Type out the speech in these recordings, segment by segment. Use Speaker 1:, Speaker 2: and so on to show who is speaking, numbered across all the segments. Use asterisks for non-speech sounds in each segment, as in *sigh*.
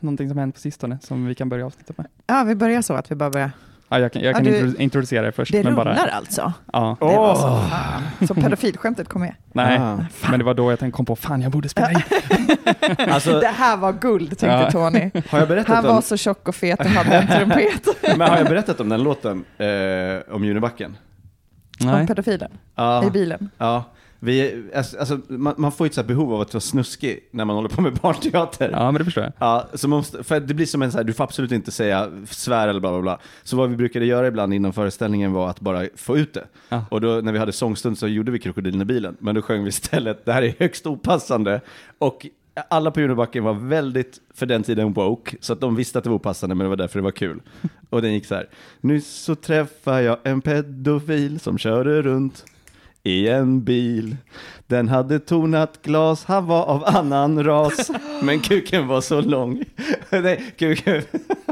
Speaker 1: någonting som hänt på sistone som vi kan börja avsnittet med?
Speaker 2: Ja, vi börjar så att vi bara börjar.
Speaker 1: Ja, jag kan, jag
Speaker 2: Ja,
Speaker 1: kan
Speaker 2: du-
Speaker 1: introdu- introducera det först.
Speaker 2: Det
Speaker 1: men
Speaker 2: rullar
Speaker 1: bara,
Speaker 2: alltså.
Speaker 1: ja,
Speaker 2: Det var så,
Speaker 3: Åh.
Speaker 2: fan. så pedofilskämtet kom
Speaker 1: *laughs*
Speaker 2: med.
Speaker 1: nej,
Speaker 3: Ah.
Speaker 1: men det var då jag tänkte kom på, fan jag borde spela in.
Speaker 3: Alltså,
Speaker 2: Det här var guld, tänkte
Speaker 1: Ja.
Speaker 2: Tony.
Speaker 3: har jag berättat
Speaker 2: Han
Speaker 3: om...
Speaker 2: var så tjock och fet och hade en trumpet.
Speaker 1: *laughs*
Speaker 3: Men har jag berättat om den låten, eh, om Junibacken?
Speaker 2: Om
Speaker 1: Nej.
Speaker 2: pedofilen
Speaker 3: Ja,
Speaker 2: i bilen.
Speaker 3: ja. Vi, alltså, alltså, man, man får ju ett så här behov av att vara snuskig när man håller på med barnteater. Ja.
Speaker 1: Ja, men det förstår jag.
Speaker 3: så man måste, för det blir som en så här, du får absolut inte säga svär eller bla bla bla. Så vad vi brukade göra ibland innan föreställningen var att bara få ut det.
Speaker 1: Ja.
Speaker 3: Och då när vi hade sångstund så gjorde vi Krokodilen i bilen. Men då sjöng vi istället, det här är högst opassande. Och alla på Junibacken var väldigt, för den tiden, woke. Så att de visste att det var opassande, men det var därför det var kul. Och den gick så här. Nyss så träffade jag en pedofil som körde runt i en bil. Den hade tonat glas, han var av annan ras. Men kuken var så lång. *laughs* Nej, kuken.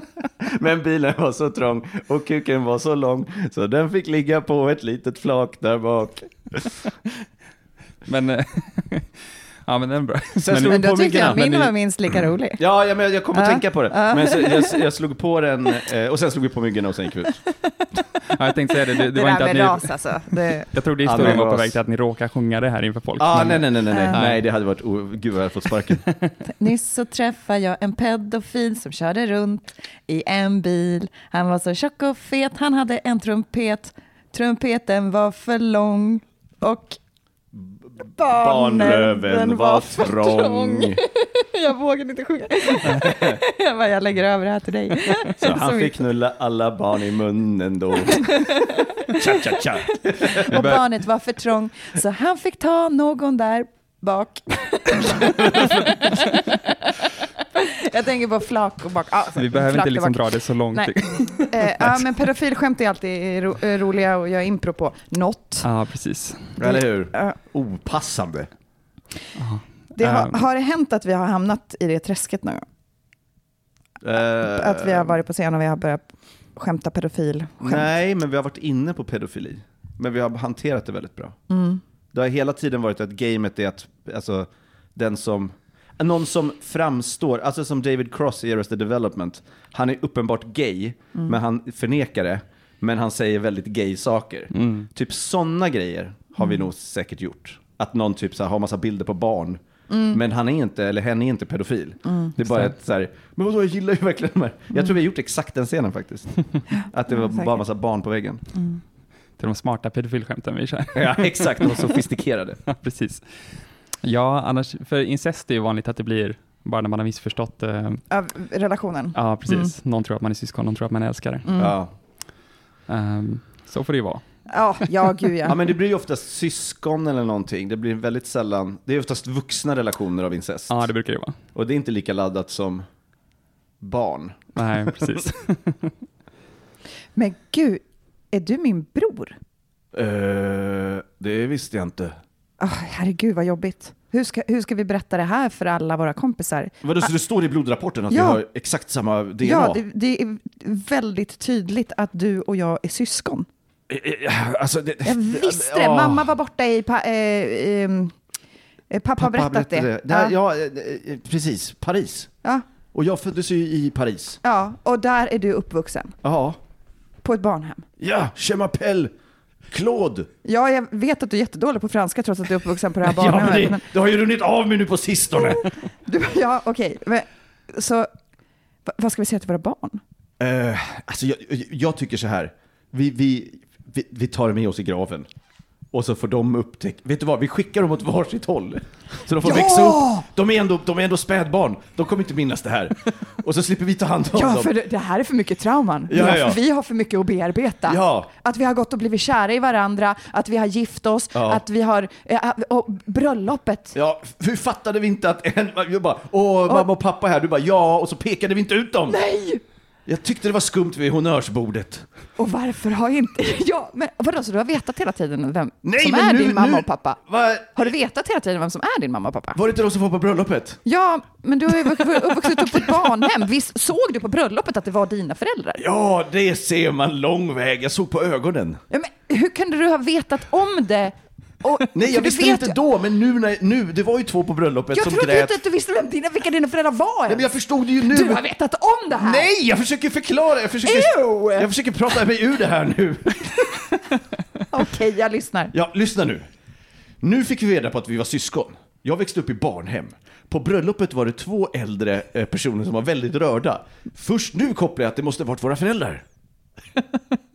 Speaker 3: *laughs* Men bilen var så trång och kuken var så lång så den fick ligga på ett litet flak där bak.
Speaker 1: Men, eh, *laughs* ja men den är bra.
Speaker 3: Sen
Speaker 1: Men-
Speaker 3: slog
Speaker 2: Men
Speaker 3: på
Speaker 2: då tyckte jag
Speaker 3: myggan.
Speaker 2: min
Speaker 1: men det- Mm.
Speaker 2: var minst lika rolig.
Speaker 3: Ja, ja men jag kom att
Speaker 2: Ja,
Speaker 3: tänka på det.
Speaker 2: ja.
Speaker 3: Men så, jag, jag slog på den eh, och sen slog vi på myggorna och sen gick vi ut.
Speaker 1: Ja, jag tänkte säga det, det,
Speaker 2: Det,
Speaker 1: det var
Speaker 2: där
Speaker 1: inte
Speaker 2: med
Speaker 1: att ni,
Speaker 2: ras alltså. Det,
Speaker 1: jag trodde historien var på
Speaker 3: Ananas.
Speaker 1: väg till att ni råkar sjunga det här inför folk.
Speaker 3: *laughs* Ah,
Speaker 1: men-
Speaker 3: nej, nej, nej, nej, nej,
Speaker 2: Ja.
Speaker 3: nej, det hade varit, oh, gud jag hade
Speaker 2: *laughs*
Speaker 3: fått sparken.
Speaker 2: Nyss så träffade jag en pedofil som körde runt i en bil. Han var så tjock och fet, han hade en trumpet. Trumpeten var för lång och
Speaker 3: Barnlöven
Speaker 2: den
Speaker 3: var trång.
Speaker 2: *laughs* Jag vågade inte sjunga. *laughs* jag bara, jag lägger över det här till dig.
Speaker 3: Så han
Speaker 2: Som-
Speaker 3: fick knulla alla barn i munnen då. *laughs* Tja, tja, tja.
Speaker 2: Och
Speaker 1: börjar-
Speaker 2: barnet var för trång, så han fick ta någon där
Speaker 1: *laughs*
Speaker 2: bak. jag tänker på flak och bak. Ja,
Speaker 1: *laughs* Vi behöver
Speaker 2: flak
Speaker 1: inte
Speaker 2: och
Speaker 1: liksom
Speaker 2: bak.
Speaker 1: dra det så långt.
Speaker 2: Nej. Eh, ja, men pedofilskämt är alltid ro eh, roliga och jag impro på. Något.
Speaker 1: *laughs* Ja, precis.
Speaker 3: Eller hur?
Speaker 2: Ja.
Speaker 3: Opassande.
Speaker 2: Det har,
Speaker 1: Ehm.
Speaker 2: har det hänt att vi har hamnat i det träsket någon gång?
Speaker 1: Eh.
Speaker 2: Att vi har varit på scen och vi har börjat skämta pedofil?
Speaker 3: Nej, men vi har varit inne på pedofili. Men vi har hanterat det väldigt bra.
Speaker 2: Mm,
Speaker 3: Det har hela tiden varit att gamet är att, alltså, den som, någon som framstår, alltså som David Cross i Arrested Development. Han är uppenbart gay, men han förnekar det. Men han säger väldigt gay saker. Typ sådana grejer har vi nog säkert gjort. Att någon typ så här, har massa bilder på barn. Men han är inte, eller hen är inte pedofil.
Speaker 2: mm,
Speaker 3: Det är bara ett så här, men vadå jag gillar ju verkligen de här. Jag tror vi har gjort exakt den
Speaker 2: *laughs*
Speaker 3: scenen faktiskt. Att det var
Speaker 2: säkert.
Speaker 3: bara massa barn
Speaker 2: *laughs*
Speaker 3: på väggen.
Speaker 2: mm.
Speaker 1: Till de smarta pedofilskämten vi kör. *laughs*
Speaker 3: Ja, exakt, de sofistikerade.
Speaker 1: Ja, precis. Ja, annars, för incest är ju vanligt att det blir bara när man har missförstått. eh,
Speaker 2: Av relationen?
Speaker 1: Ja, precis.
Speaker 2: Mm.
Speaker 1: Någon tror att man är syskon, någon tror att man är älskare.
Speaker 3: Ja.
Speaker 1: Ehm, så får det ju vara.
Speaker 2: Ja, ja gud ja.
Speaker 3: ja, men det blir ju oftast syskon eller någonting. Det blir väldigt sällan, det är oftast vuxna relationer av incest.
Speaker 1: Ja, det brukar det vara.
Speaker 3: Och det är inte lika laddat som barn.
Speaker 1: Nej, precis.
Speaker 2: Men gud, är du min bror?
Speaker 3: Eh, det visste jag inte.
Speaker 2: Oh, herregud vad jobbigt. Hur ska, hur ska vi berätta det här för alla våra kompisar?
Speaker 3: Vadå, så det står i blodrapporten att
Speaker 2: Ah. Ja.
Speaker 3: vi har exakt samma DNA?
Speaker 2: Ja, det, det är väldigt tydligt att du och jag är syskon.
Speaker 3: Eh, eh,
Speaker 2: *laughs*
Speaker 3: Alltså, det,
Speaker 2: Jag visste det.
Speaker 3: Ah.
Speaker 2: Mamma var borta i... Pa, eh, ehm, eh, pappa har berättat det.
Speaker 3: Nej,
Speaker 2: ja.
Speaker 3: ja. eh, eh, precis. Paris.
Speaker 2: Ja,
Speaker 3: Och jag föddes ju i Paris.
Speaker 2: ja, och där är du uppvuxen.
Speaker 3: Ja.
Speaker 2: På ett barnhem.
Speaker 3: Ja, Je m'appelle Claude.
Speaker 2: Ja, jag vet att du är jättedålig på franska trots att du är uppvuxen *laughs* på det här
Speaker 3: Ja, men
Speaker 2: barnhemmet.
Speaker 3: det, det har ju runnit av mig nu
Speaker 2: *laughs*
Speaker 3: på sistone.
Speaker 2: men du, ja, okej. Men, Så va- vad ska vi säga till våra barn?
Speaker 3: Eh, alltså jag, jag tycker så här. Vi, vi, vi, vi tar det med oss i graven. Och så får de upptäcka. Vet du vad? Vi skickar dem åt varsitt håll. Så de får
Speaker 2: Ja!
Speaker 3: växa upp. De är, ändå, de är ändå spädbarn. De kommer inte minnas det här. Och så slipper vi ta hand om
Speaker 2: Ja,
Speaker 3: dem.
Speaker 2: för det det här är för mycket trauman.
Speaker 3: Ja, ja, ja.
Speaker 2: Vi har för mycket att bearbeta.
Speaker 3: Ja.
Speaker 2: Att vi har gått och blivit kära i varandra, att vi har gift oss,
Speaker 3: Ja.
Speaker 2: att vi har... eh, Och bröllopet.
Speaker 3: Ja, f- hur fattade vi inte att en... Jag bara, åh, mamma och pappa är här. Du bara, ja. Och så pekade vi inte ut dem.
Speaker 2: Nej!
Speaker 3: Jag tyckte det var skumt vid honnörsbordet.
Speaker 2: Och varför har inte... *laughs* Ja, men vadå, så du har vetat hela tiden vem
Speaker 3: Nej,
Speaker 2: som
Speaker 3: men
Speaker 2: är
Speaker 3: nu,
Speaker 2: din mamma
Speaker 3: nu,
Speaker 2: och pappa?
Speaker 3: Va?
Speaker 2: Har du vetat hela tiden vem som är din mamma och pappa?
Speaker 3: Var det inte de som var på bröllopet?
Speaker 2: Ja, men du har ju vux- vuxit upp på ett barnhem. Visst såg du på bröllopet att det var dina föräldrar?
Speaker 3: Ja, det ser man lång väg. Jag såg på ögonen.
Speaker 2: Ja, men hur kunde du ha vetat om det Och,
Speaker 3: Nej,
Speaker 2: för
Speaker 3: jag
Speaker 2: du
Speaker 3: visste
Speaker 2: vet
Speaker 3: inte
Speaker 2: ju-
Speaker 3: då, men nu, när, nu, det var ju två på bröllopet
Speaker 2: Jag
Speaker 3: som
Speaker 2: trodde
Speaker 3: grät.
Speaker 2: inte att du visste vem dina, vilka dina föräldrar var
Speaker 3: Nej, men jag förstod det ju nu.
Speaker 2: Du har vetat om det här!
Speaker 3: Nej, jag försöker förklara. Jag försöker,
Speaker 2: Ew!
Speaker 3: jag försöker prata mig ur det här nu.
Speaker 2: Okej, jag lyssnar.
Speaker 3: Ja, lyssna nu. Nu fick vi reda på att vi var syskon. Jag växte upp i barnhem. På bröllopet var det två äldre eh, personer som var väldigt rörda. Först nu kopplar jag att det måste ha varit våra föräldrar.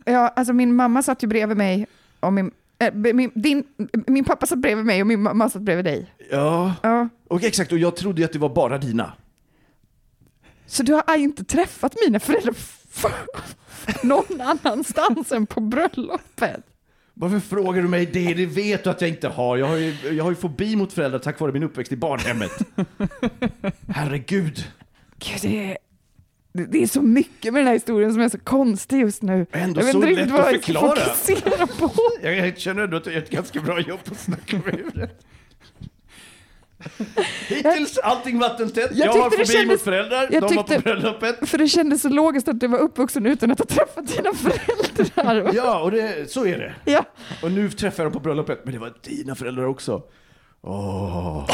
Speaker 2: Ja, alltså min mamma satt ju bredvid mig och min, äh, min, din, min pappa satt bredvid mig och min mamma satt bredvid dig.
Speaker 3: Ja,
Speaker 2: Ja.
Speaker 3: och exakt. Och jag trodde ju att det var bara dina.
Speaker 2: Så du har inte träffat mina föräldrar *laughs* f- någon annanstans än på bröllopet?
Speaker 3: Varför frågar du mig det? Det vet du att jag inte har. Jag har ju, jag har ju fobi mot föräldrar tack vare min uppväxt i barnhemmet.
Speaker 2: *laughs*
Speaker 3: Herregud.
Speaker 2: Gud, det är, det- det är så mycket med den här historien som är så konstig just nu.
Speaker 3: Ändå
Speaker 2: jag vet
Speaker 3: så
Speaker 2: inte riktigt
Speaker 3: lätt
Speaker 2: vad
Speaker 3: att
Speaker 2: jag ska
Speaker 3: förklara.
Speaker 2: fokusera på.
Speaker 3: Jag, jag känner ändå att jag gör ett ganska bra jobb på att snacka mig ur det.
Speaker 2: *laughs*
Speaker 3: Hittills allting vattentätt.
Speaker 2: Jag
Speaker 3: Jag, har
Speaker 2: tyckte det
Speaker 3: fobi
Speaker 2: kändes-
Speaker 3: mot föräldrar. De
Speaker 2: jag
Speaker 3: var på
Speaker 2: tyckte- *laughs*
Speaker 3: bröllopet.
Speaker 2: För det kändes så logiskt att du var uppvuxen utan att ha träffat dina föräldrar.
Speaker 3: Ja, och det, så är det.
Speaker 2: Ja.
Speaker 3: Och nu träffar jag dem på bröllopet. Men det var dina föräldrar också. Åh.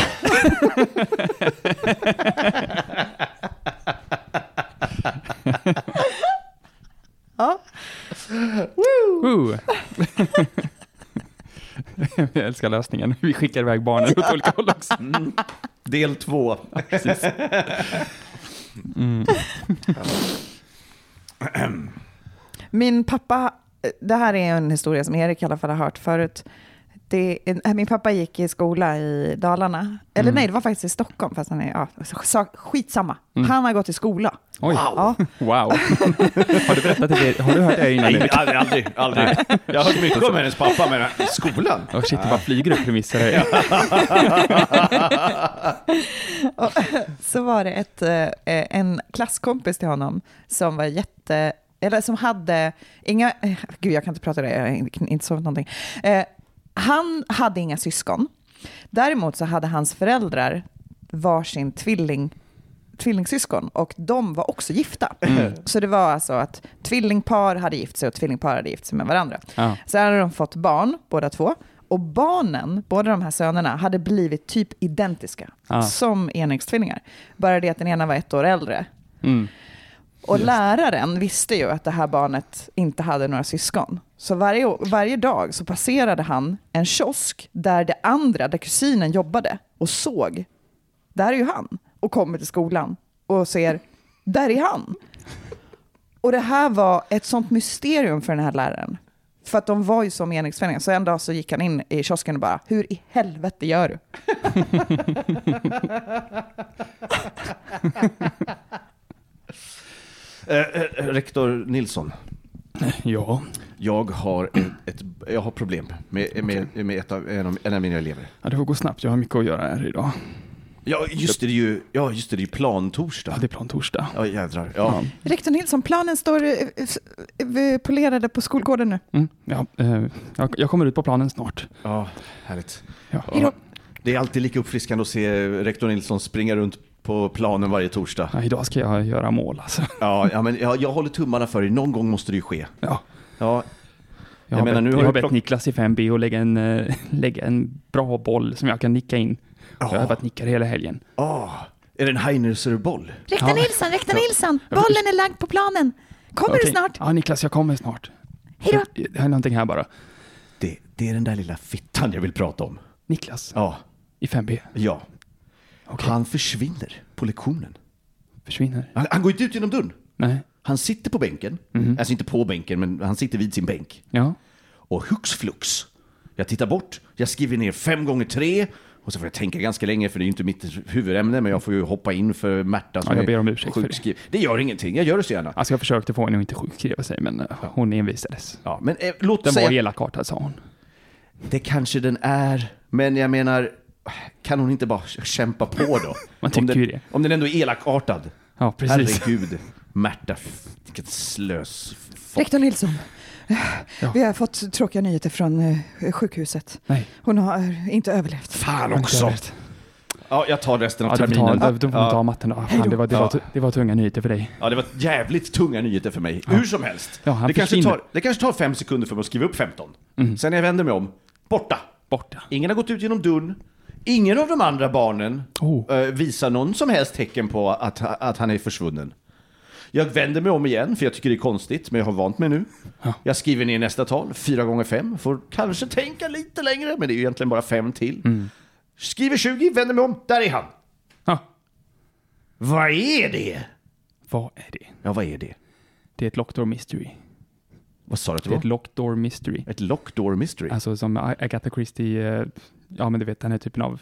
Speaker 2: Ja.
Speaker 1: Woo! *laughs* Jag älskar lösningen. Vi skickar iväg barnen åt olika håll också.
Speaker 3: Del två.
Speaker 2: Min pappa, det här är en historia som Erik i alla fall har hört förut. Det, eh, min pappa gick i skola i Dalarna. Eller nej, det var faktiskt i Stockholm. Fast han är, ja, så- skitsamma. Han har gått i skola.
Speaker 1: Oj.
Speaker 2: Ja.
Speaker 1: Wow. Har du berättat det? Har du hört det här innan?
Speaker 3: Nej,
Speaker 1: Erik?
Speaker 3: aldrig, aldrig, aldrig. Jag har hört mycket *laughs* om hennes pappa, men i skolan?
Speaker 1: Åh shit, det bara flyger upp premisser här.
Speaker 2: eh, så var det ett, eh, en klasskompis till honom som var jätte, eller som hade inga, eh, gud jag kan inte prata det, jag har in- inte sovit någonting. Eh, han hade inga syskon. Däremot så hade hans föräldrar varsin tvilling, tvillingsyskon och de var också gifta. Så det var alltså att tvillingpar hade gift sig och tvillingpar hade gift sig med varandra.
Speaker 1: Ja.
Speaker 2: Sen hade de fått barn, båda två. Och barnen, båda de här sönerna, hade blivit typ identiska.
Speaker 1: Ah.
Speaker 2: Som enäggstvillingar. Bara det att den ena var ett år äldre.
Speaker 1: Mm.
Speaker 2: Och läraren visste ju att det här barnet inte hade några syskon. Så varje, å- varje dag så passerade han en kiosk där det andra, där kusinen jobbade och såg, där är ju han. Och kommer till skolan och ser, där är han. Och det här var ett sånt mysterium för den här läraren. För att de var ju som enäggstvillingar. Så en dag så gick han in i kiosken och bara, hur i helvete gör du?
Speaker 3: Eh, eh, rektor Nilsson,
Speaker 1: Ja.
Speaker 3: jag har, ett, ett, jag har problem med, med, med ett av, en, av, en av mina elever.
Speaker 1: ja, det får gå snabbt. Jag har mycket att göra här idag.
Speaker 3: Ja, just det, det är ju, ja, just det, det är ju plantorsdag.
Speaker 1: Ja, det är plan torsdag.
Speaker 3: Ja, jädrar. Ja.
Speaker 2: Rektor Nilsson, planen står eh, eh, polerade på skolgården nu.
Speaker 1: Mm. Ja, eh, jag, jag kommer ut på planen snart.
Speaker 3: ja, härligt.
Speaker 1: Ja.
Speaker 3: Ja. Det är alltid lika uppfriskande att se rektor Nilsson springa runt på planen varje torsdag.
Speaker 1: Ja, idag ska jag göra mål alltså.
Speaker 3: *laughs* Ja, ja men jag, jag håller tummarna för dig. Någon gång måste det ju ske.
Speaker 1: Ja.
Speaker 3: Ja,
Speaker 1: Jag,
Speaker 3: Jag
Speaker 1: har
Speaker 3: menar,
Speaker 1: bett,
Speaker 3: nu har
Speaker 1: jag
Speaker 3: du
Speaker 1: har bett
Speaker 3: plock-
Speaker 1: Niklas i 5B att lägga en, eh, *laughs* lägga en bra boll som jag kan nicka in. Jag har övat nickar hela helgen.
Speaker 3: ah, är det en Heinzer-boll?
Speaker 2: Rektor
Speaker 1: Ja.
Speaker 2: Nilsson, rektor Nilsson,
Speaker 1: Ja, men-
Speaker 2: bollen är lagd på planen. Kommer du
Speaker 1: Okej.
Speaker 2: snart?
Speaker 1: Ja, Niklas, jag kommer snart.
Speaker 2: Hej då.
Speaker 1: Det är någonting här bara.
Speaker 3: Det, det är den där lilla fittan jag vill prata om.
Speaker 1: Niklas,
Speaker 3: Ja,
Speaker 1: i 5B,
Speaker 3: ja.
Speaker 1: Okej.
Speaker 3: Han försvinner på lektionen.
Speaker 1: försvinner.
Speaker 3: Han, han går inte ut genom dörren.
Speaker 1: Nej.
Speaker 3: Han sitter på bänken.
Speaker 1: Mhm.
Speaker 3: Alltså inte på bänken, men han sitter vid sin bänk.
Speaker 1: Ja.
Speaker 3: Och hux flux. Jag tittar bort, jag skriver ner fem gånger tre. Och så får jag tänka ganska länge, för det är ju inte mitt huvudämne, men jag får ju hoppa in för Märta som
Speaker 1: jag
Speaker 3: är
Speaker 1: ber om ursäkt för det.
Speaker 3: sjukskriven. det. gör ingenting, jag gör det så gärna.
Speaker 1: Alltså jag försökte få henne att inte sjukskriva sig, men eh, hon envisades.
Speaker 3: Ja, men eh, låt
Speaker 1: Den
Speaker 3: säga...
Speaker 1: var elakartad, sa hon.
Speaker 3: Det kanske den är, men jag menar, kan hon inte bara kämpa på
Speaker 1: *laughs*
Speaker 3: då?
Speaker 1: Man tycker
Speaker 3: om den,
Speaker 1: ju det.
Speaker 3: Om den ändå är elakartad.
Speaker 1: Ja, precis.
Speaker 3: Herregud, Märta, f- vilket slös. f-
Speaker 2: Rektor Nilsson, eh,
Speaker 1: Ja.
Speaker 2: vi har fått tråkiga nyheter från eh, sjukhuset.
Speaker 1: Nej.
Speaker 2: Hon har eh, inte överlevt.
Speaker 3: Fan också!
Speaker 1: Inte
Speaker 3: Ja, jag tar resten
Speaker 1: Ja,
Speaker 3: av
Speaker 1: du får ta,
Speaker 3: terminen.
Speaker 1: du, du får ta matten då. Fan, det, var, det, var,
Speaker 3: Ja.
Speaker 1: det var tunga nyheter för dig.
Speaker 3: Ja, det var jävligt tunga nyheter för mig. Hur som helst.
Speaker 1: Ja, han
Speaker 3: det, kanske
Speaker 1: försvinner. Mm.
Speaker 3: tar, det kanske tar fem sekunder för mig att skriva upp 15. Sen när jag vänder mig om, borta!
Speaker 1: borta.
Speaker 3: Ingen har gått ut genom dörren. Ingen av de andra barnen
Speaker 1: Oh.
Speaker 3: eh, visar någon som helst tecken på att, att han är försvunnen. Jag vänder mig om igen, för jag tycker det är konstigt, men jag har vant mig nu.
Speaker 1: Ja.
Speaker 3: Jag skriver ner nästa tal, fyra gånger fem. får kanske tänka lite längre, men det är ju egentligen bara fem till.
Speaker 1: Mm.
Speaker 3: Skriver 20, vänder mig om, där är han!
Speaker 1: Ja,
Speaker 3: Vad är det?
Speaker 1: vad är det?
Speaker 3: Ja, vad är det?
Speaker 1: Det är ett locked door mystery.
Speaker 3: Vad sa du att det
Speaker 1: Det är ett
Speaker 3: var?
Speaker 1: locked door mystery.
Speaker 3: Ett locked door mystery.
Speaker 1: Alltså som A- Agatha Christie, eh, ja men du vet den här typen av...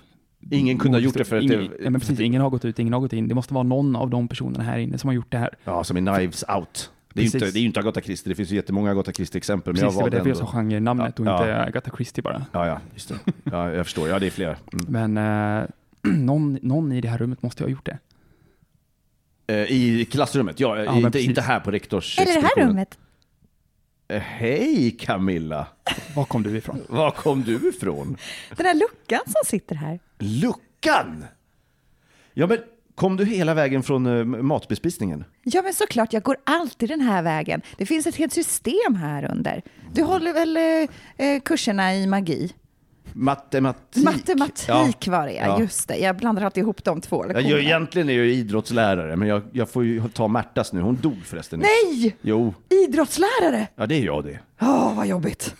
Speaker 3: Ingen kunde ha gjort det för att
Speaker 1: ingen,
Speaker 3: det...
Speaker 1: ja, men precis, ingen har gått ut, ingen har gått in. Det måste vara någon av de personerna här inne som har gjort det här.
Speaker 3: Ja, som i Knives Out. Det är, ju
Speaker 1: Precis.
Speaker 3: inte, det är ju inte Agatha Christie, det finns ju jättemånga Agatha Christie-exempel. Men
Speaker 1: Precis, det
Speaker 3: jag
Speaker 1: var
Speaker 3: valde
Speaker 1: därför jag
Speaker 3: ändå...
Speaker 1: sa genrenamnet och
Speaker 3: Ja.
Speaker 1: inte Agatha Christie bara.
Speaker 3: Ja, ja, just det. Ja, jag förstår. Ja, det är flera. Mm.
Speaker 1: Men eh, *clears throat* någon, någon i det här rummet måste ju ha gjort det.
Speaker 3: Eh, I klassrummet, ja. eh,
Speaker 1: Ja, men
Speaker 3: inte,
Speaker 1: precis.
Speaker 3: inte här på rektors...
Speaker 2: Är det det här
Speaker 3: expeditionen.
Speaker 2: rummet?
Speaker 3: Eh, Hej Camilla!
Speaker 1: Var kom du ifrån?
Speaker 3: Var kom du ifrån?
Speaker 2: Den där luckan som sitter här?
Speaker 3: Luckan! Ja, men kom du hela vägen från eh, matbespisningen?
Speaker 2: Ja, men såklart, jag går alltid den här vägen. Det finns ett helt system här under. Du håller väl eh, eh, kurserna i magi?
Speaker 3: Matematik.
Speaker 2: Matematik var det,
Speaker 3: Ja.
Speaker 2: ja. Just det, jag blandar alltid ihop de två
Speaker 3: Jag,
Speaker 2: lektionerna.
Speaker 3: jag, egentligen är jag ju idrottslärare, men jag, jag får ju ta Märtas nu. Hon dog förresten. nyss.
Speaker 2: Nej!
Speaker 3: Jo,
Speaker 2: Idrottslärare!
Speaker 3: ja det är jag det.
Speaker 2: Åh, vad jobbigt.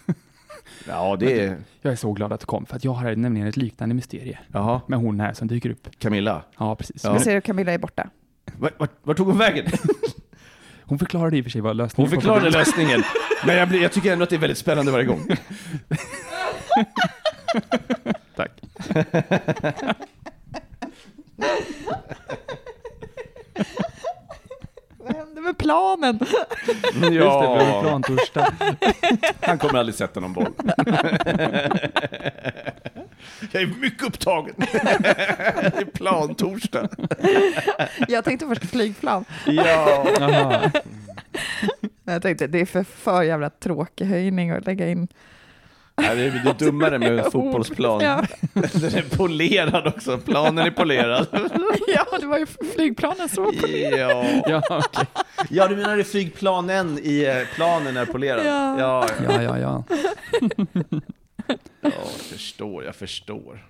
Speaker 3: Ja, det är...
Speaker 1: Jag är så glad att du kom, för att jag har nämligen ett liknande mysterie
Speaker 3: Jaha,
Speaker 1: med hon här som dyker upp.
Speaker 3: Camilla.
Speaker 1: Ja, precis.
Speaker 3: Ja.
Speaker 1: Men
Speaker 2: Jag ser att Camilla är borta.
Speaker 3: Vart, vart, vart tog hon vägen?
Speaker 1: Hon förklarade i och för sig vad lösningen
Speaker 3: Hon förklarade lösningen, men jag, blir, jag tycker ändå att det är väldigt spännande varje gång.
Speaker 1: Tack.
Speaker 2: Vad hände med planen?
Speaker 3: Ja. Just
Speaker 1: *laughs* Just det, vi har en plantorsdag.
Speaker 3: Han kommer aldrig sätta någon boll. Jag är mycket upptagen. Det är plantorsdag.
Speaker 2: *laughs* Jag tänkte först flygplan.
Speaker 3: Ja.
Speaker 1: Jaha.
Speaker 2: Men jag tänkte, det är för, för jävla tråkig höjning att lägga in. Oh,
Speaker 3: Nej, det, är, det är dummare
Speaker 2: *laughs*
Speaker 3: med en fotbollsplan.
Speaker 2: Ja, *laughs*
Speaker 3: Den är polerad också. Planen är polerad.
Speaker 2: ja det var ju flygplanen som var på
Speaker 3: Ja,
Speaker 1: Ja, okej.
Speaker 3: ja du menar det flygplanen i eh, planen är polerad?
Speaker 2: Ja.
Speaker 3: Ja,
Speaker 1: ja,
Speaker 3: ja.
Speaker 1: ja, ja.
Speaker 3: Ja, jag förstår, jag förstår.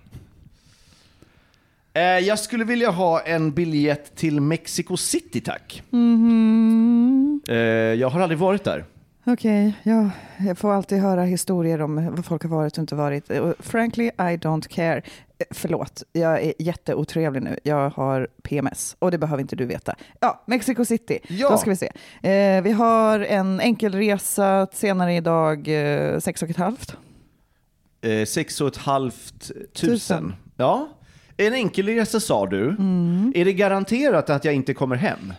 Speaker 3: Eh, jag skulle vilja ha en biljett till Mexico City, tack.
Speaker 2: Mm-hmm.
Speaker 3: Eh, jag har aldrig varit där.
Speaker 2: Okej, ja, jag får alltid höra historier om vad folk har varit och inte varit. Och Frankly, I don't care. Eh, Förlåt, jag är jätteotrevlig nu. Jag har PMS och det behöver inte du veta. Ja, Mexico City,
Speaker 3: Ja.
Speaker 2: då ska vi se. Eh, vi har en enkel resa senare idag, eh, sex och ett halvt.
Speaker 3: Eh, sex och ett halvt tusen.
Speaker 2: Tusen. Mm.
Speaker 3: Ja. En enkelresa sa du. Är det garanterat att jag inte kommer hem?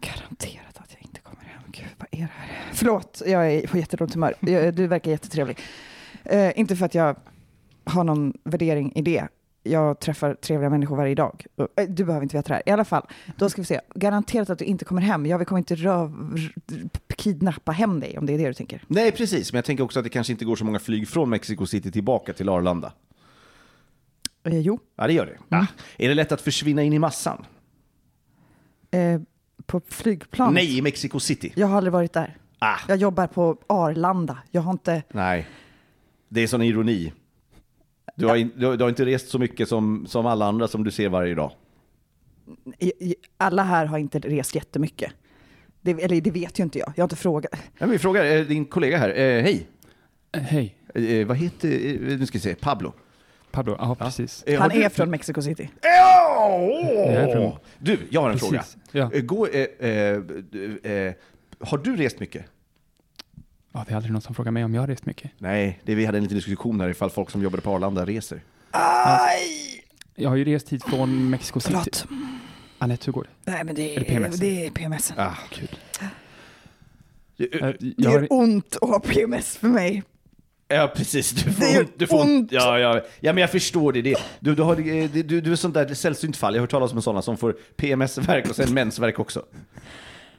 Speaker 2: Garanterat att jag inte kommer hem. Gud, vad är det här? Förlåt, jag är på jättedåligt humör. Jag, du verkar jättetrevlig. Eh, inte för att jag har någon värdering i det. Jag träffar trevliga människor varje dag. Eh, Du behöver inte veta det här. I alla fall, då ska vi se. Garanterat att du inte kommer hem. Jag kommer inte röv, r- kidnappa hem dig om det är det du tänker.
Speaker 3: Nej, precis. Men jag tänker också att det kanske inte går så många flyg från Mexico City tillbaka till Arlanda.
Speaker 2: Eh, jo,
Speaker 3: Ja, det gör det. Ah. Är det lätt att försvinna in i massan?
Speaker 2: eh, på flygplanet.
Speaker 3: Nej, i Mexico City.
Speaker 2: Jag har aldrig varit där.
Speaker 3: Ah.
Speaker 2: Jag jobbar på Arlanda. Jag har inte...
Speaker 3: Nej. Det är sån ironi. Du har, in, du, har- du har inte rest så mycket som, som alla andra som du ser varje dag.
Speaker 2: i- i- alla här har inte rest jättemycket. Det, eller det vet ju inte jag. Jag har inte frågat.
Speaker 3: Ja, men vi frågar eh, din kollega här. Eh, hej.
Speaker 1: Eh, Hej,
Speaker 3: Eh, vad heter... Eh, nu ska vi se. Pablo.
Speaker 1: Pablo. Ja, precis.
Speaker 3: Eh,
Speaker 2: Han
Speaker 3: har du-
Speaker 2: är från Mexico City.
Speaker 1: är från-
Speaker 3: Åh! Du, jag har en
Speaker 1: Precis,
Speaker 3: fråga.
Speaker 1: ja.
Speaker 3: Eh, Gå, eh, eh, du, eh, har du rest mycket?
Speaker 1: Ja, det är aldrig någon som frågar mig om jag har rest mycket.
Speaker 3: Nej, det, vi hade en liten diskussion här ifall folk som jobbade på Arlanda reser.
Speaker 2: Aj!
Speaker 1: Jag har ju rest hit från Mexico City.
Speaker 2: Förlåt.
Speaker 1: Anette, hur går det?
Speaker 2: Nej, men det
Speaker 1: Är det PMS?
Speaker 2: är, det är PMS.
Speaker 3: Ah,
Speaker 1: Kul.
Speaker 3: Eh, eh,
Speaker 1: Eh,
Speaker 2: Det
Speaker 1: Jag
Speaker 2: gör
Speaker 1: har,
Speaker 2: ont att ha PMS för mig.
Speaker 3: Ja, precis. Du får,
Speaker 2: Det gör
Speaker 3: ont- du får
Speaker 2: ont.
Speaker 3: Ja, ja, ja, men jag förstår det. det du, du, har, det- det- du, du är sånt där sällsynt fall. Jag har hört talas om sådana som får PMS-verk och sen mensvärk också.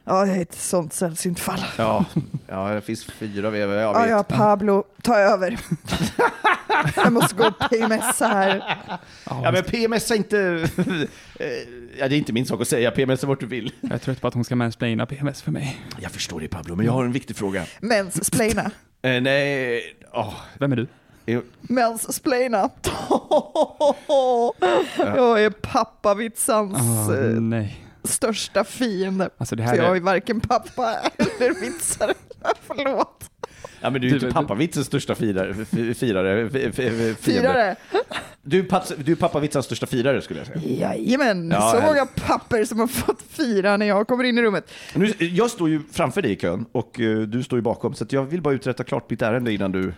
Speaker 2: Ja, jag är ett sånt sällsynt fall.
Speaker 3: Ja, ja det finns fyra av er, vad jag
Speaker 2: Ja,
Speaker 3: vet.
Speaker 2: ja, Pablo, ta över. jag måste gå och PMS här.
Speaker 3: Ja, men PMS är inte... *laughs* eh, ja, det är inte min sak att säga. PMS är vart du vill.
Speaker 1: jag är trött på att hon ska mansplaina PMS för mig.
Speaker 3: Jag förstår det Pablo, men jag har en viktig fråga.
Speaker 2: Mensplaina.
Speaker 3: Eh, nej, åh,
Speaker 1: Vem är du?
Speaker 3: Jo,
Speaker 4: Mansplaina. jag är pappavitsans
Speaker 2: Ah,
Speaker 1: Åh,
Speaker 4: eh,
Speaker 1: nej.
Speaker 4: största fiende.
Speaker 1: Alltså det
Speaker 4: Så
Speaker 1: här
Speaker 4: jag har ju
Speaker 1: är...
Speaker 4: varken pappa eller
Speaker 2: *laughs*
Speaker 4: vitsare. Förlåt.
Speaker 3: Ja, men du är ju
Speaker 1: Du-
Speaker 3: inte pappavitsens största firare. f- firare f- f- fiende.
Speaker 4: Firare.
Speaker 3: Du är, paps, du är pappavitsens största firare skulle jag säga.
Speaker 4: Jajamän,
Speaker 3: Ja,
Speaker 4: så
Speaker 3: hel-
Speaker 4: många papper som har fått fira när jag kommer in i rummet.
Speaker 3: Nu, jag står ju framför dig i kön och eh, du står ju bakom, så att jag vill bara uträtta klart mitt ärende innan du...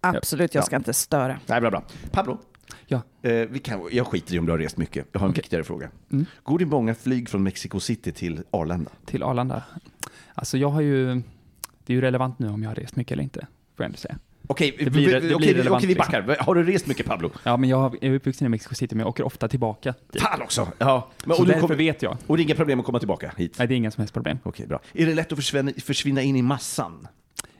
Speaker 2: Absolut, jag
Speaker 3: Ja.
Speaker 2: ska inte störa.
Speaker 3: Nej, bra, bra. Pablo,
Speaker 1: Ja.
Speaker 3: eh, vi kan, jag skiter i om du har rest mycket. Jag har en viktigare fråga.
Speaker 1: Mm.
Speaker 3: Går det många flyg från Mexico City till Arlanda?
Speaker 1: Till Arlanda. Alltså jag har ju... Det är ju relevant nu om jag har rest mycket eller inte, får jag ändå säga.
Speaker 3: Okej,
Speaker 1: Det
Speaker 3: vi-
Speaker 1: blir-
Speaker 3: vi-
Speaker 1: det blir
Speaker 3: okej, vi-
Speaker 1: relevant,
Speaker 3: okej, vi backar. liksom. Har du rest mycket Pablo?
Speaker 1: Ja, men jag är uppvuxen i Mexico City, men jag åker ofta tillbaka. dit.
Speaker 3: Fan också! Ja. Men,
Speaker 1: Så
Speaker 3: och, du
Speaker 1: därför
Speaker 3: kom,
Speaker 1: vet jag.
Speaker 3: och det är inga problem att komma tillbaka hit?
Speaker 1: Nej, det är inga som helst problem.
Speaker 3: Okej, bra. Är det lätt att försvinna, försvinna in i massan?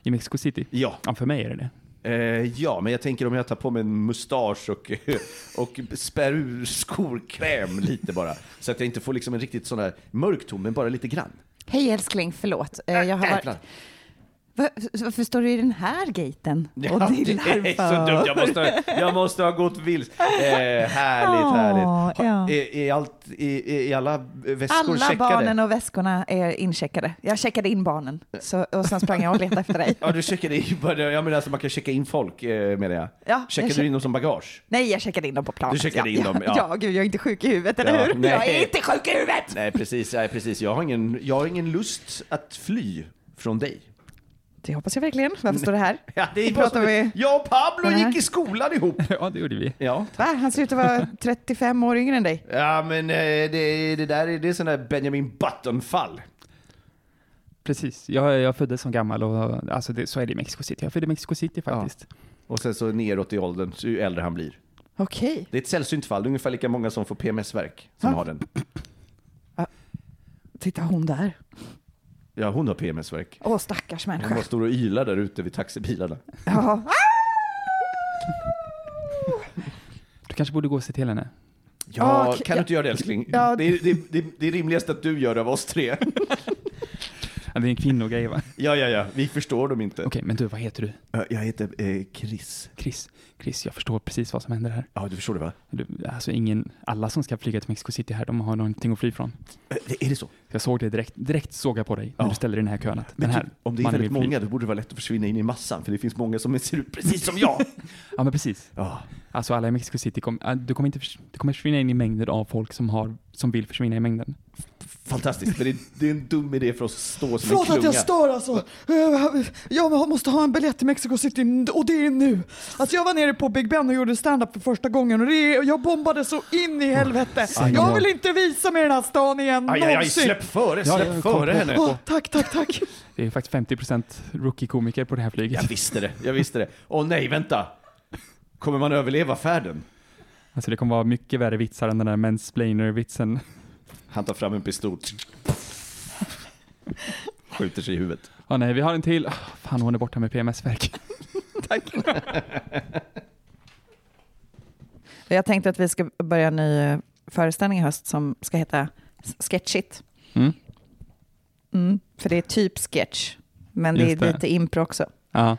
Speaker 1: I Mexico City?
Speaker 3: Ja.
Speaker 1: Ja, för mig är det *laughs* det.
Speaker 3: Eh, ja, men jag tänker om jag tar på mig en mustasch och, *laughs* och spär ur skorkräm lite bara. Så att jag inte får liksom en riktigt sån här mörk ton, men bara lite grann.
Speaker 2: Hej älskling, förlåt. Eh, Jag har varit...
Speaker 3: Jävlar.
Speaker 2: Va- Varför står du i den här gaten och
Speaker 3: Ja, det
Speaker 2: dillar
Speaker 3: är så dumt, jag måste, jag måste ha gått vilse. Eh, härligt,
Speaker 2: Åh,
Speaker 3: härligt.
Speaker 2: ja.
Speaker 3: Har- Är, är, allt, är, är alla väskor
Speaker 2: Alla
Speaker 3: checkade?
Speaker 2: barnen och väskorna är incheckade. Jag checkade in barnen så, och sen sprang jag och letade efter dig.
Speaker 3: Ja, du checkade *laughs* in, jag menar alltså man kan checka in folk eh, menar jag.
Speaker 2: Ja, jag
Speaker 3: checkade
Speaker 2: check-
Speaker 3: du in dem som bagage?
Speaker 2: Nej, jag checkade in dem på planet.
Speaker 3: Du checkade
Speaker 2: ja,
Speaker 3: in dem,
Speaker 2: ja.
Speaker 3: ja.
Speaker 2: *laughs* ja, gud, jag är inte sjuk i huvudet, eller
Speaker 3: Ja,
Speaker 2: hur?
Speaker 3: nej.
Speaker 2: Jag är inte sjuk i huvudet!
Speaker 3: Nej, precis, nej, precis. Jag, har ingen, jag har ingen lust att fly från dig.
Speaker 2: Det hoppas jag verkligen. Varför står det här?
Speaker 3: Ja, det
Speaker 2: Då pratar vi...
Speaker 3: Jag och Pablo
Speaker 2: Nej.
Speaker 3: gick i skolan ihop.
Speaker 1: Ja, det gjorde vi.
Speaker 3: Ja,
Speaker 2: Va? Han ser ut att
Speaker 3: *laughs*
Speaker 2: vara 35 år yngre än dig.
Speaker 3: ja men eh, det, det där är, det är sån där Benjamin Button-fall.
Speaker 1: Precis. Jag, jag föddes som gammal och alltså det, så är det i Mexico City. Jag föddes i Mexico City faktiskt.
Speaker 3: Och sen så neråt i åldern, så ju äldre han blir.
Speaker 2: Okej.
Speaker 3: Det är ett sällsynt fall, det är ungefär lika många som får PMS-verk som
Speaker 2: Va?
Speaker 3: har den.
Speaker 2: Titta hon där.
Speaker 3: Ja, hon har PMS-verk.
Speaker 2: Åh, stackars
Speaker 3: Hon
Speaker 2: människa.
Speaker 3: bara står och ylar där ute vid taxibilarna.
Speaker 2: Ja. Ah!
Speaker 1: Du kanske borde gå och se till henne.
Speaker 3: Ja,
Speaker 2: Ah, okej.
Speaker 3: kan du inte göra det älskling?
Speaker 2: Ja.
Speaker 3: Det, är, det, det, det är rimligast att du gör det av oss tre.
Speaker 1: Ja, det är en kvinnogrej *laughs* va? Okej,
Speaker 3: Ja, ja, ja, vi förstår dem inte.
Speaker 1: men du, vad heter du?
Speaker 3: Eh, Jag heter eh, Chris.
Speaker 1: Chris. Chris, jag förstår precis vad som händer här.
Speaker 3: Ja, du förstår det va?
Speaker 1: Du, alltså ingen, alla som ska flyga till Mexico City här, de har någonting att fly från.
Speaker 3: Eh, det- Är det så?
Speaker 1: Jag såg det direkt, direkt såg jag på dig när
Speaker 3: Ja.
Speaker 1: du ställde dig i den här kön att
Speaker 3: Men
Speaker 1: den här
Speaker 3: typ, om det är
Speaker 1: mannen
Speaker 3: väldigt
Speaker 1: vill fly.
Speaker 3: många, då borde det vara lätt att försvinna in i massan, för det finns många som ser ut precis som jag.
Speaker 1: Ja men precis.
Speaker 3: *laughs* ja.
Speaker 1: Alltså alla i Mexico City, kom, äh, du, kommer inte, förs- du kommer försvinna in i mängden av folk som, har, som vill försvinna i mängden.
Speaker 3: Fantastiskt, men det, det är en dum idé för oss att stå som
Speaker 4: Förlåt
Speaker 3: en
Speaker 4: att jag
Speaker 3: klunga.
Speaker 4: stör alltså. Eh, Jag måste ha en biljett till Mexico City och det är nu. Alltså jag var nere på Big Ben och gjorde stand-up för första gången och det, jag bombade så in i helvete.
Speaker 1: Aj,
Speaker 4: Jag
Speaker 1: aj.
Speaker 4: vill inte visa mig den här stan igen
Speaker 3: Aj, aj, aj,
Speaker 4: någonsin.
Speaker 3: släpp före,
Speaker 1: Ja,
Speaker 3: släpp
Speaker 1: jag kom
Speaker 3: före
Speaker 1: på-
Speaker 3: henne.
Speaker 4: Åh, tack, tack, tack.
Speaker 1: Det är faktiskt 50% rookie-komiker på det här flyget.
Speaker 3: Jag visste det, jag visste det. Åh nej, vänta. Kommer man överleva färden?
Speaker 1: Alltså det kommer vara mycket värre vitsar än den där mansplainer-vitsen.
Speaker 3: Han tar fram en pistol. Skjuter sig i huvudet.
Speaker 1: Ja nej, vi har en till. Ah, Fan, hon är borta med PMS-värk.
Speaker 2: Jag tänkte att vi ska börja en ny eh, föreställning i höst som ska heta Sketchit.
Speaker 1: Mm.
Speaker 2: Mm, för det är typ sketch, men det är
Speaker 1: Just det.
Speaker 2: lite impro också.
Speaker 1: Ja.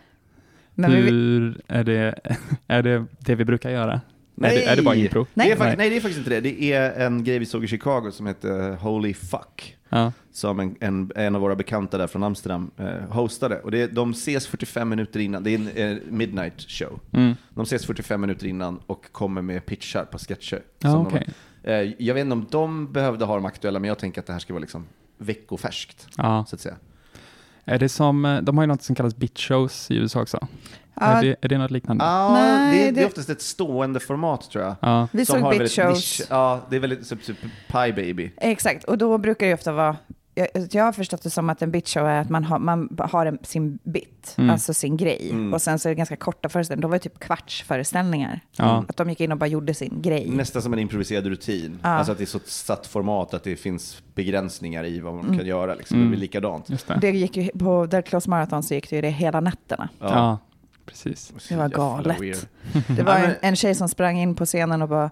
Speaker 2: Men vi,
Speaker 1: Hur är det, *laughs* är det det vi brukar göra? Är, det, är det bara impro?
Speaker 3: Nej. Det är
Speaker 1: Nej.
Speaker 3: faktiskt, nej, det är faktiskt inte det. Det är en grej vi såg i Chicago som heter eh, Holy Fuck.
Speaker 1: Ja.
Speaker 3: som en, en, en av våra bekanta där från Amsterdam eh, hostade. Och det, de ses 45 minuter innan, det är en eh, midnight show.
Speaker 1: Mm.
Speaker 3: De ses 45 minuter innan och kommer med pitchar på sketcher.
Speaker 1: Ja,
Speaker 3: Som
Speaker 1: okej.
Speaker 3: de, eh, jag vet inte om de behövde ha dem aktuella, men jag tänker att det här ska vara liksom veckofärskt.
Speaker 1: ja.
Speaker 3: Så att säga.
Speaker 1: Är det som, eh, de har ju något som kallas bitch shows i USA också.
Speaker 2: ja,
Speaker 1: Är, det, är det något liknande?
Speaker 3: Ja,
Speaker 2: Nej,
Speaker 3: det, det är
Speaker 2: det-
Speaker 3: oftast ett stående format tror jag.
Speaker 1: Ja.
Speaker 2: vi
Speaker 3: Som
Speaker 2: såg
Speaker 3: har
Speaker 2: bitch
Speaker 3: väldigt
Speaker 2: shows.
Speaker 3: nisch- Ja, det är väldigt typ, typ Pie Baby.
Speaker 2: Exakt, och då brukar det ju ofta vara... Jag, jag har förstått det som att en bitch show är att man har, man har en, sin bit,
Speaker 1: Mm.
Speaker 2: alltså sin grej.
Speaker 3: Mm.
Speaker 2: Och sen så är det ganska korta föreställningar. De var ju typ kvartsföreställningar.
Speaker 1: Ja.
Speaker 2: Att de gick in och bara gjorde sin grej.
Speaker 3: Nästan som en improviserad rutin.
Speaker 2: Ja.
Speaker 3: Alltså att det är så satt format att det finns begränsningar i vad man kan
Speaker 2: Mm.
Speaker 3: göra. Liksom. Det
Speaker 1: Mm.
Speaker 3: blir likadant.
Speaker 1: Just
Speaker 2: Och
Speaker 1: det.
Speaker 2: Det gick ju, på Derklos Marathon så gick det ju det hela nätterna.
Speaker 1: Ja. precis.
Speaker 2: Det var
Speaker 3: Jävla
Speaker 2: galet.
Speaker 3: weird.
Speaker 2: Det var
Speaker 3: Ja,
Speaker 2: en,
Speaker 3: men-
Speaker 2: en tjej som sprang in på scenen och bara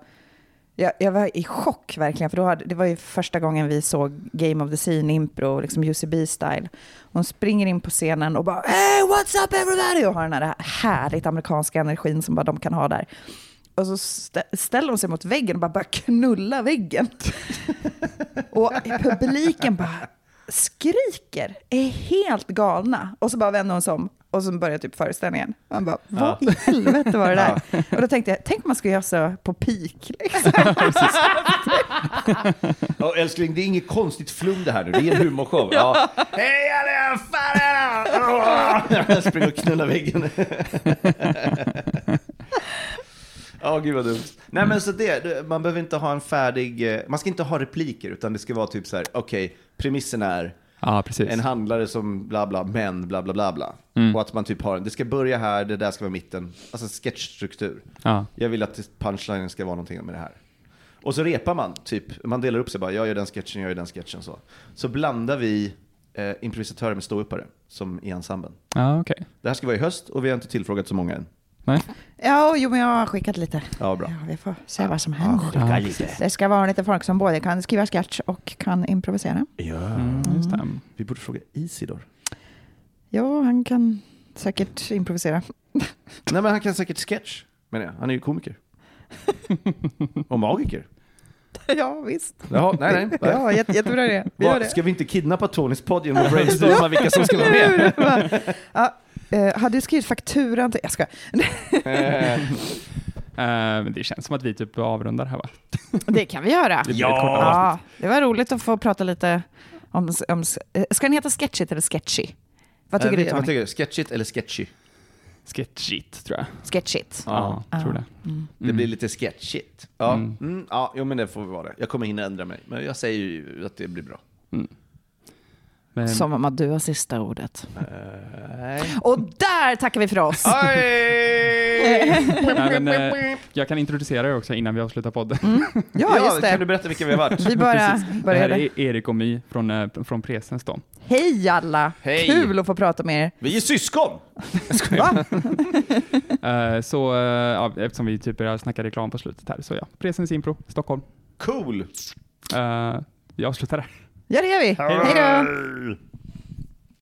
Speaker 5: Jag, jag var i chock verkligen, för då hade, det var ju första gången vi såg Game of the Scene-impro, liksom UCB-style. Hon springer in på scenen och bara “Hey, what's up everybody?” och har den här härligt amerikanska energin som bara de kan ha där. Och så stä- ställer hon sig mot väggen och bara börjar knulla väggen. *laughs* och publiken bara skriker, är helt galna. Och så bara vänder hon sig om och så börjar typ föreställningen. Man bara, vad i helvete var det där? Och då tänkte jag, tänk om man skulle göra så på peak. Liksom.
Speaker 3: Ja, älskling, det är inget konstigt flum det här nu. Det är en humorshow. ja. Hej alla, fan alla! Jag *laughs* springer och knullar väggen. *laughs* Ja, gud vad dumt. Nej, men så det, det- man behöver inte ha en färdig, eh, man ska inte ha repliker, utan det ska vara typ så här, okej, premissen är
Speaker 1: Ja, precis.
Speaker 3: en handlare som bla bla, men bla bla bla bla. Och att man typ har en, det ska börja här, det där ska vara mitten. Alltså sketchstruktur.
Speaker 1: Ja.
Speaker 3: Jag vill att punchlinen ska vara någonting med det här. Och så repar man, typ. Man delar upp sig bara, jag gör den sketchen, jag gör den sketchen. Så, så blandar vi eh, improvisatörer med ståuppare, som i ensemblen.
Speaker 1: Ja, okej.
Speaker 3: Det här ska vara i höst och vi har inte tillfrågat så många än.
Speaker 1: Nej.
Speaker 5: Ja, jo, men jag har skickat lite.
Speaker 3: Ja, bra. Ah,
Speaker 5: Ja, vi får se vad som händer.
Speaker 1: Ja,
Speaker 5: Det ska vara lite folk som både kan skriva sketch och kan improvisera.
Speaker 3: Ja.
Speaker 1: Mm, just det.
Speaker 3: Vi borde fråga Isidor.
Speaker 5: Jo, han kan säkert improvisera.
Speaker 3: Nej, men han kan säkert sketch, menar jag. Han är ju
Speaker 5: *laughs*
Speaker 3: komiker. och magiker.
Speaker 5: ja, visst.
Speaker 3: Jaha,
Speaker 1: *laughs*
Speaker 3: nej, nej.
Speaker 5: Ja, jätte, jättebra idé. Vi gör
Speaker 3: Vad,
Speaker 5: det.
Speaker 3: ska vi inte kidnappa Tonys podd
Speaker 5: *laughs*
Speaker 3: genom att brainstorma vilka som ska vara med?
Speaker 5: Ja, eh, hade du skrivit fakturan till... Jag ska.
Speaker 1: Eh, men det känns som att vi typ avrundar här va?
Speaker 5: Det kan vi göra.
Speaker 1: Det blir ett kortare
Speaker 5: Ja, det var roligt att få prata lite om... om eh, ska den heta Sketchit eller Sketchy? Vad tycker
Speaker 3: Eh,
Speaker 5: du
Speaker 3: Vad
Speaker 5: Tony?
Speaker 3: tycker du? Sketchigt eller sketchy?
Speaker 1: Sketchigt tror jag.
Speaker 5: Sketchit. Mm.
Speaker 1: Ja, tror det. Mm.
Speaker 3: Det blir lite sketchigt. Ja, mm. ja jo, men det får vi vara det. Jag kommer hinna ändra mig, men jag säger ju att det blir
Speaker 5: *laughs*
Speaker 3: bra.
Speaker 1: Men,
Speaker 5: Som om att du har sista ordet.
Speaker 3: Eh,
Speaker 5: *laughs*
Speaker 3: Nej.
Speaker 5: Och där tackar vi för oss.
Speaker 1: nej, men, eh, jag kan introducera er också innan vi avslutar podden.
Speaker 5: *laughs* Ja, just
Speaker 3: Kan du
Speaker 5: det.
Speaker 3: berätta vilka vi har varit?
Speaker 5: Vi bara
Speaker 1: Det här
Speaker 5: började.
Speaker 1: är Erik och My från, eh, från Presens *laughs* då.
Speaker 5: Hej alla!
Speaker 3: Hej.
Speaker 5: Kul att få prata med er.
Speaker 3: Vi är syskon!
Speaker 1: Eh, så eh, ja, eftersom vi typ börjar snacka reklam på slutet här, så ja. Presens Impro, Stockholm.
Speaker 3: Cool!
Speaker 1: Eh, vi avslutar där.
Speaker 5: Ja, det gör vi. Hej då!
Speaker 3: då!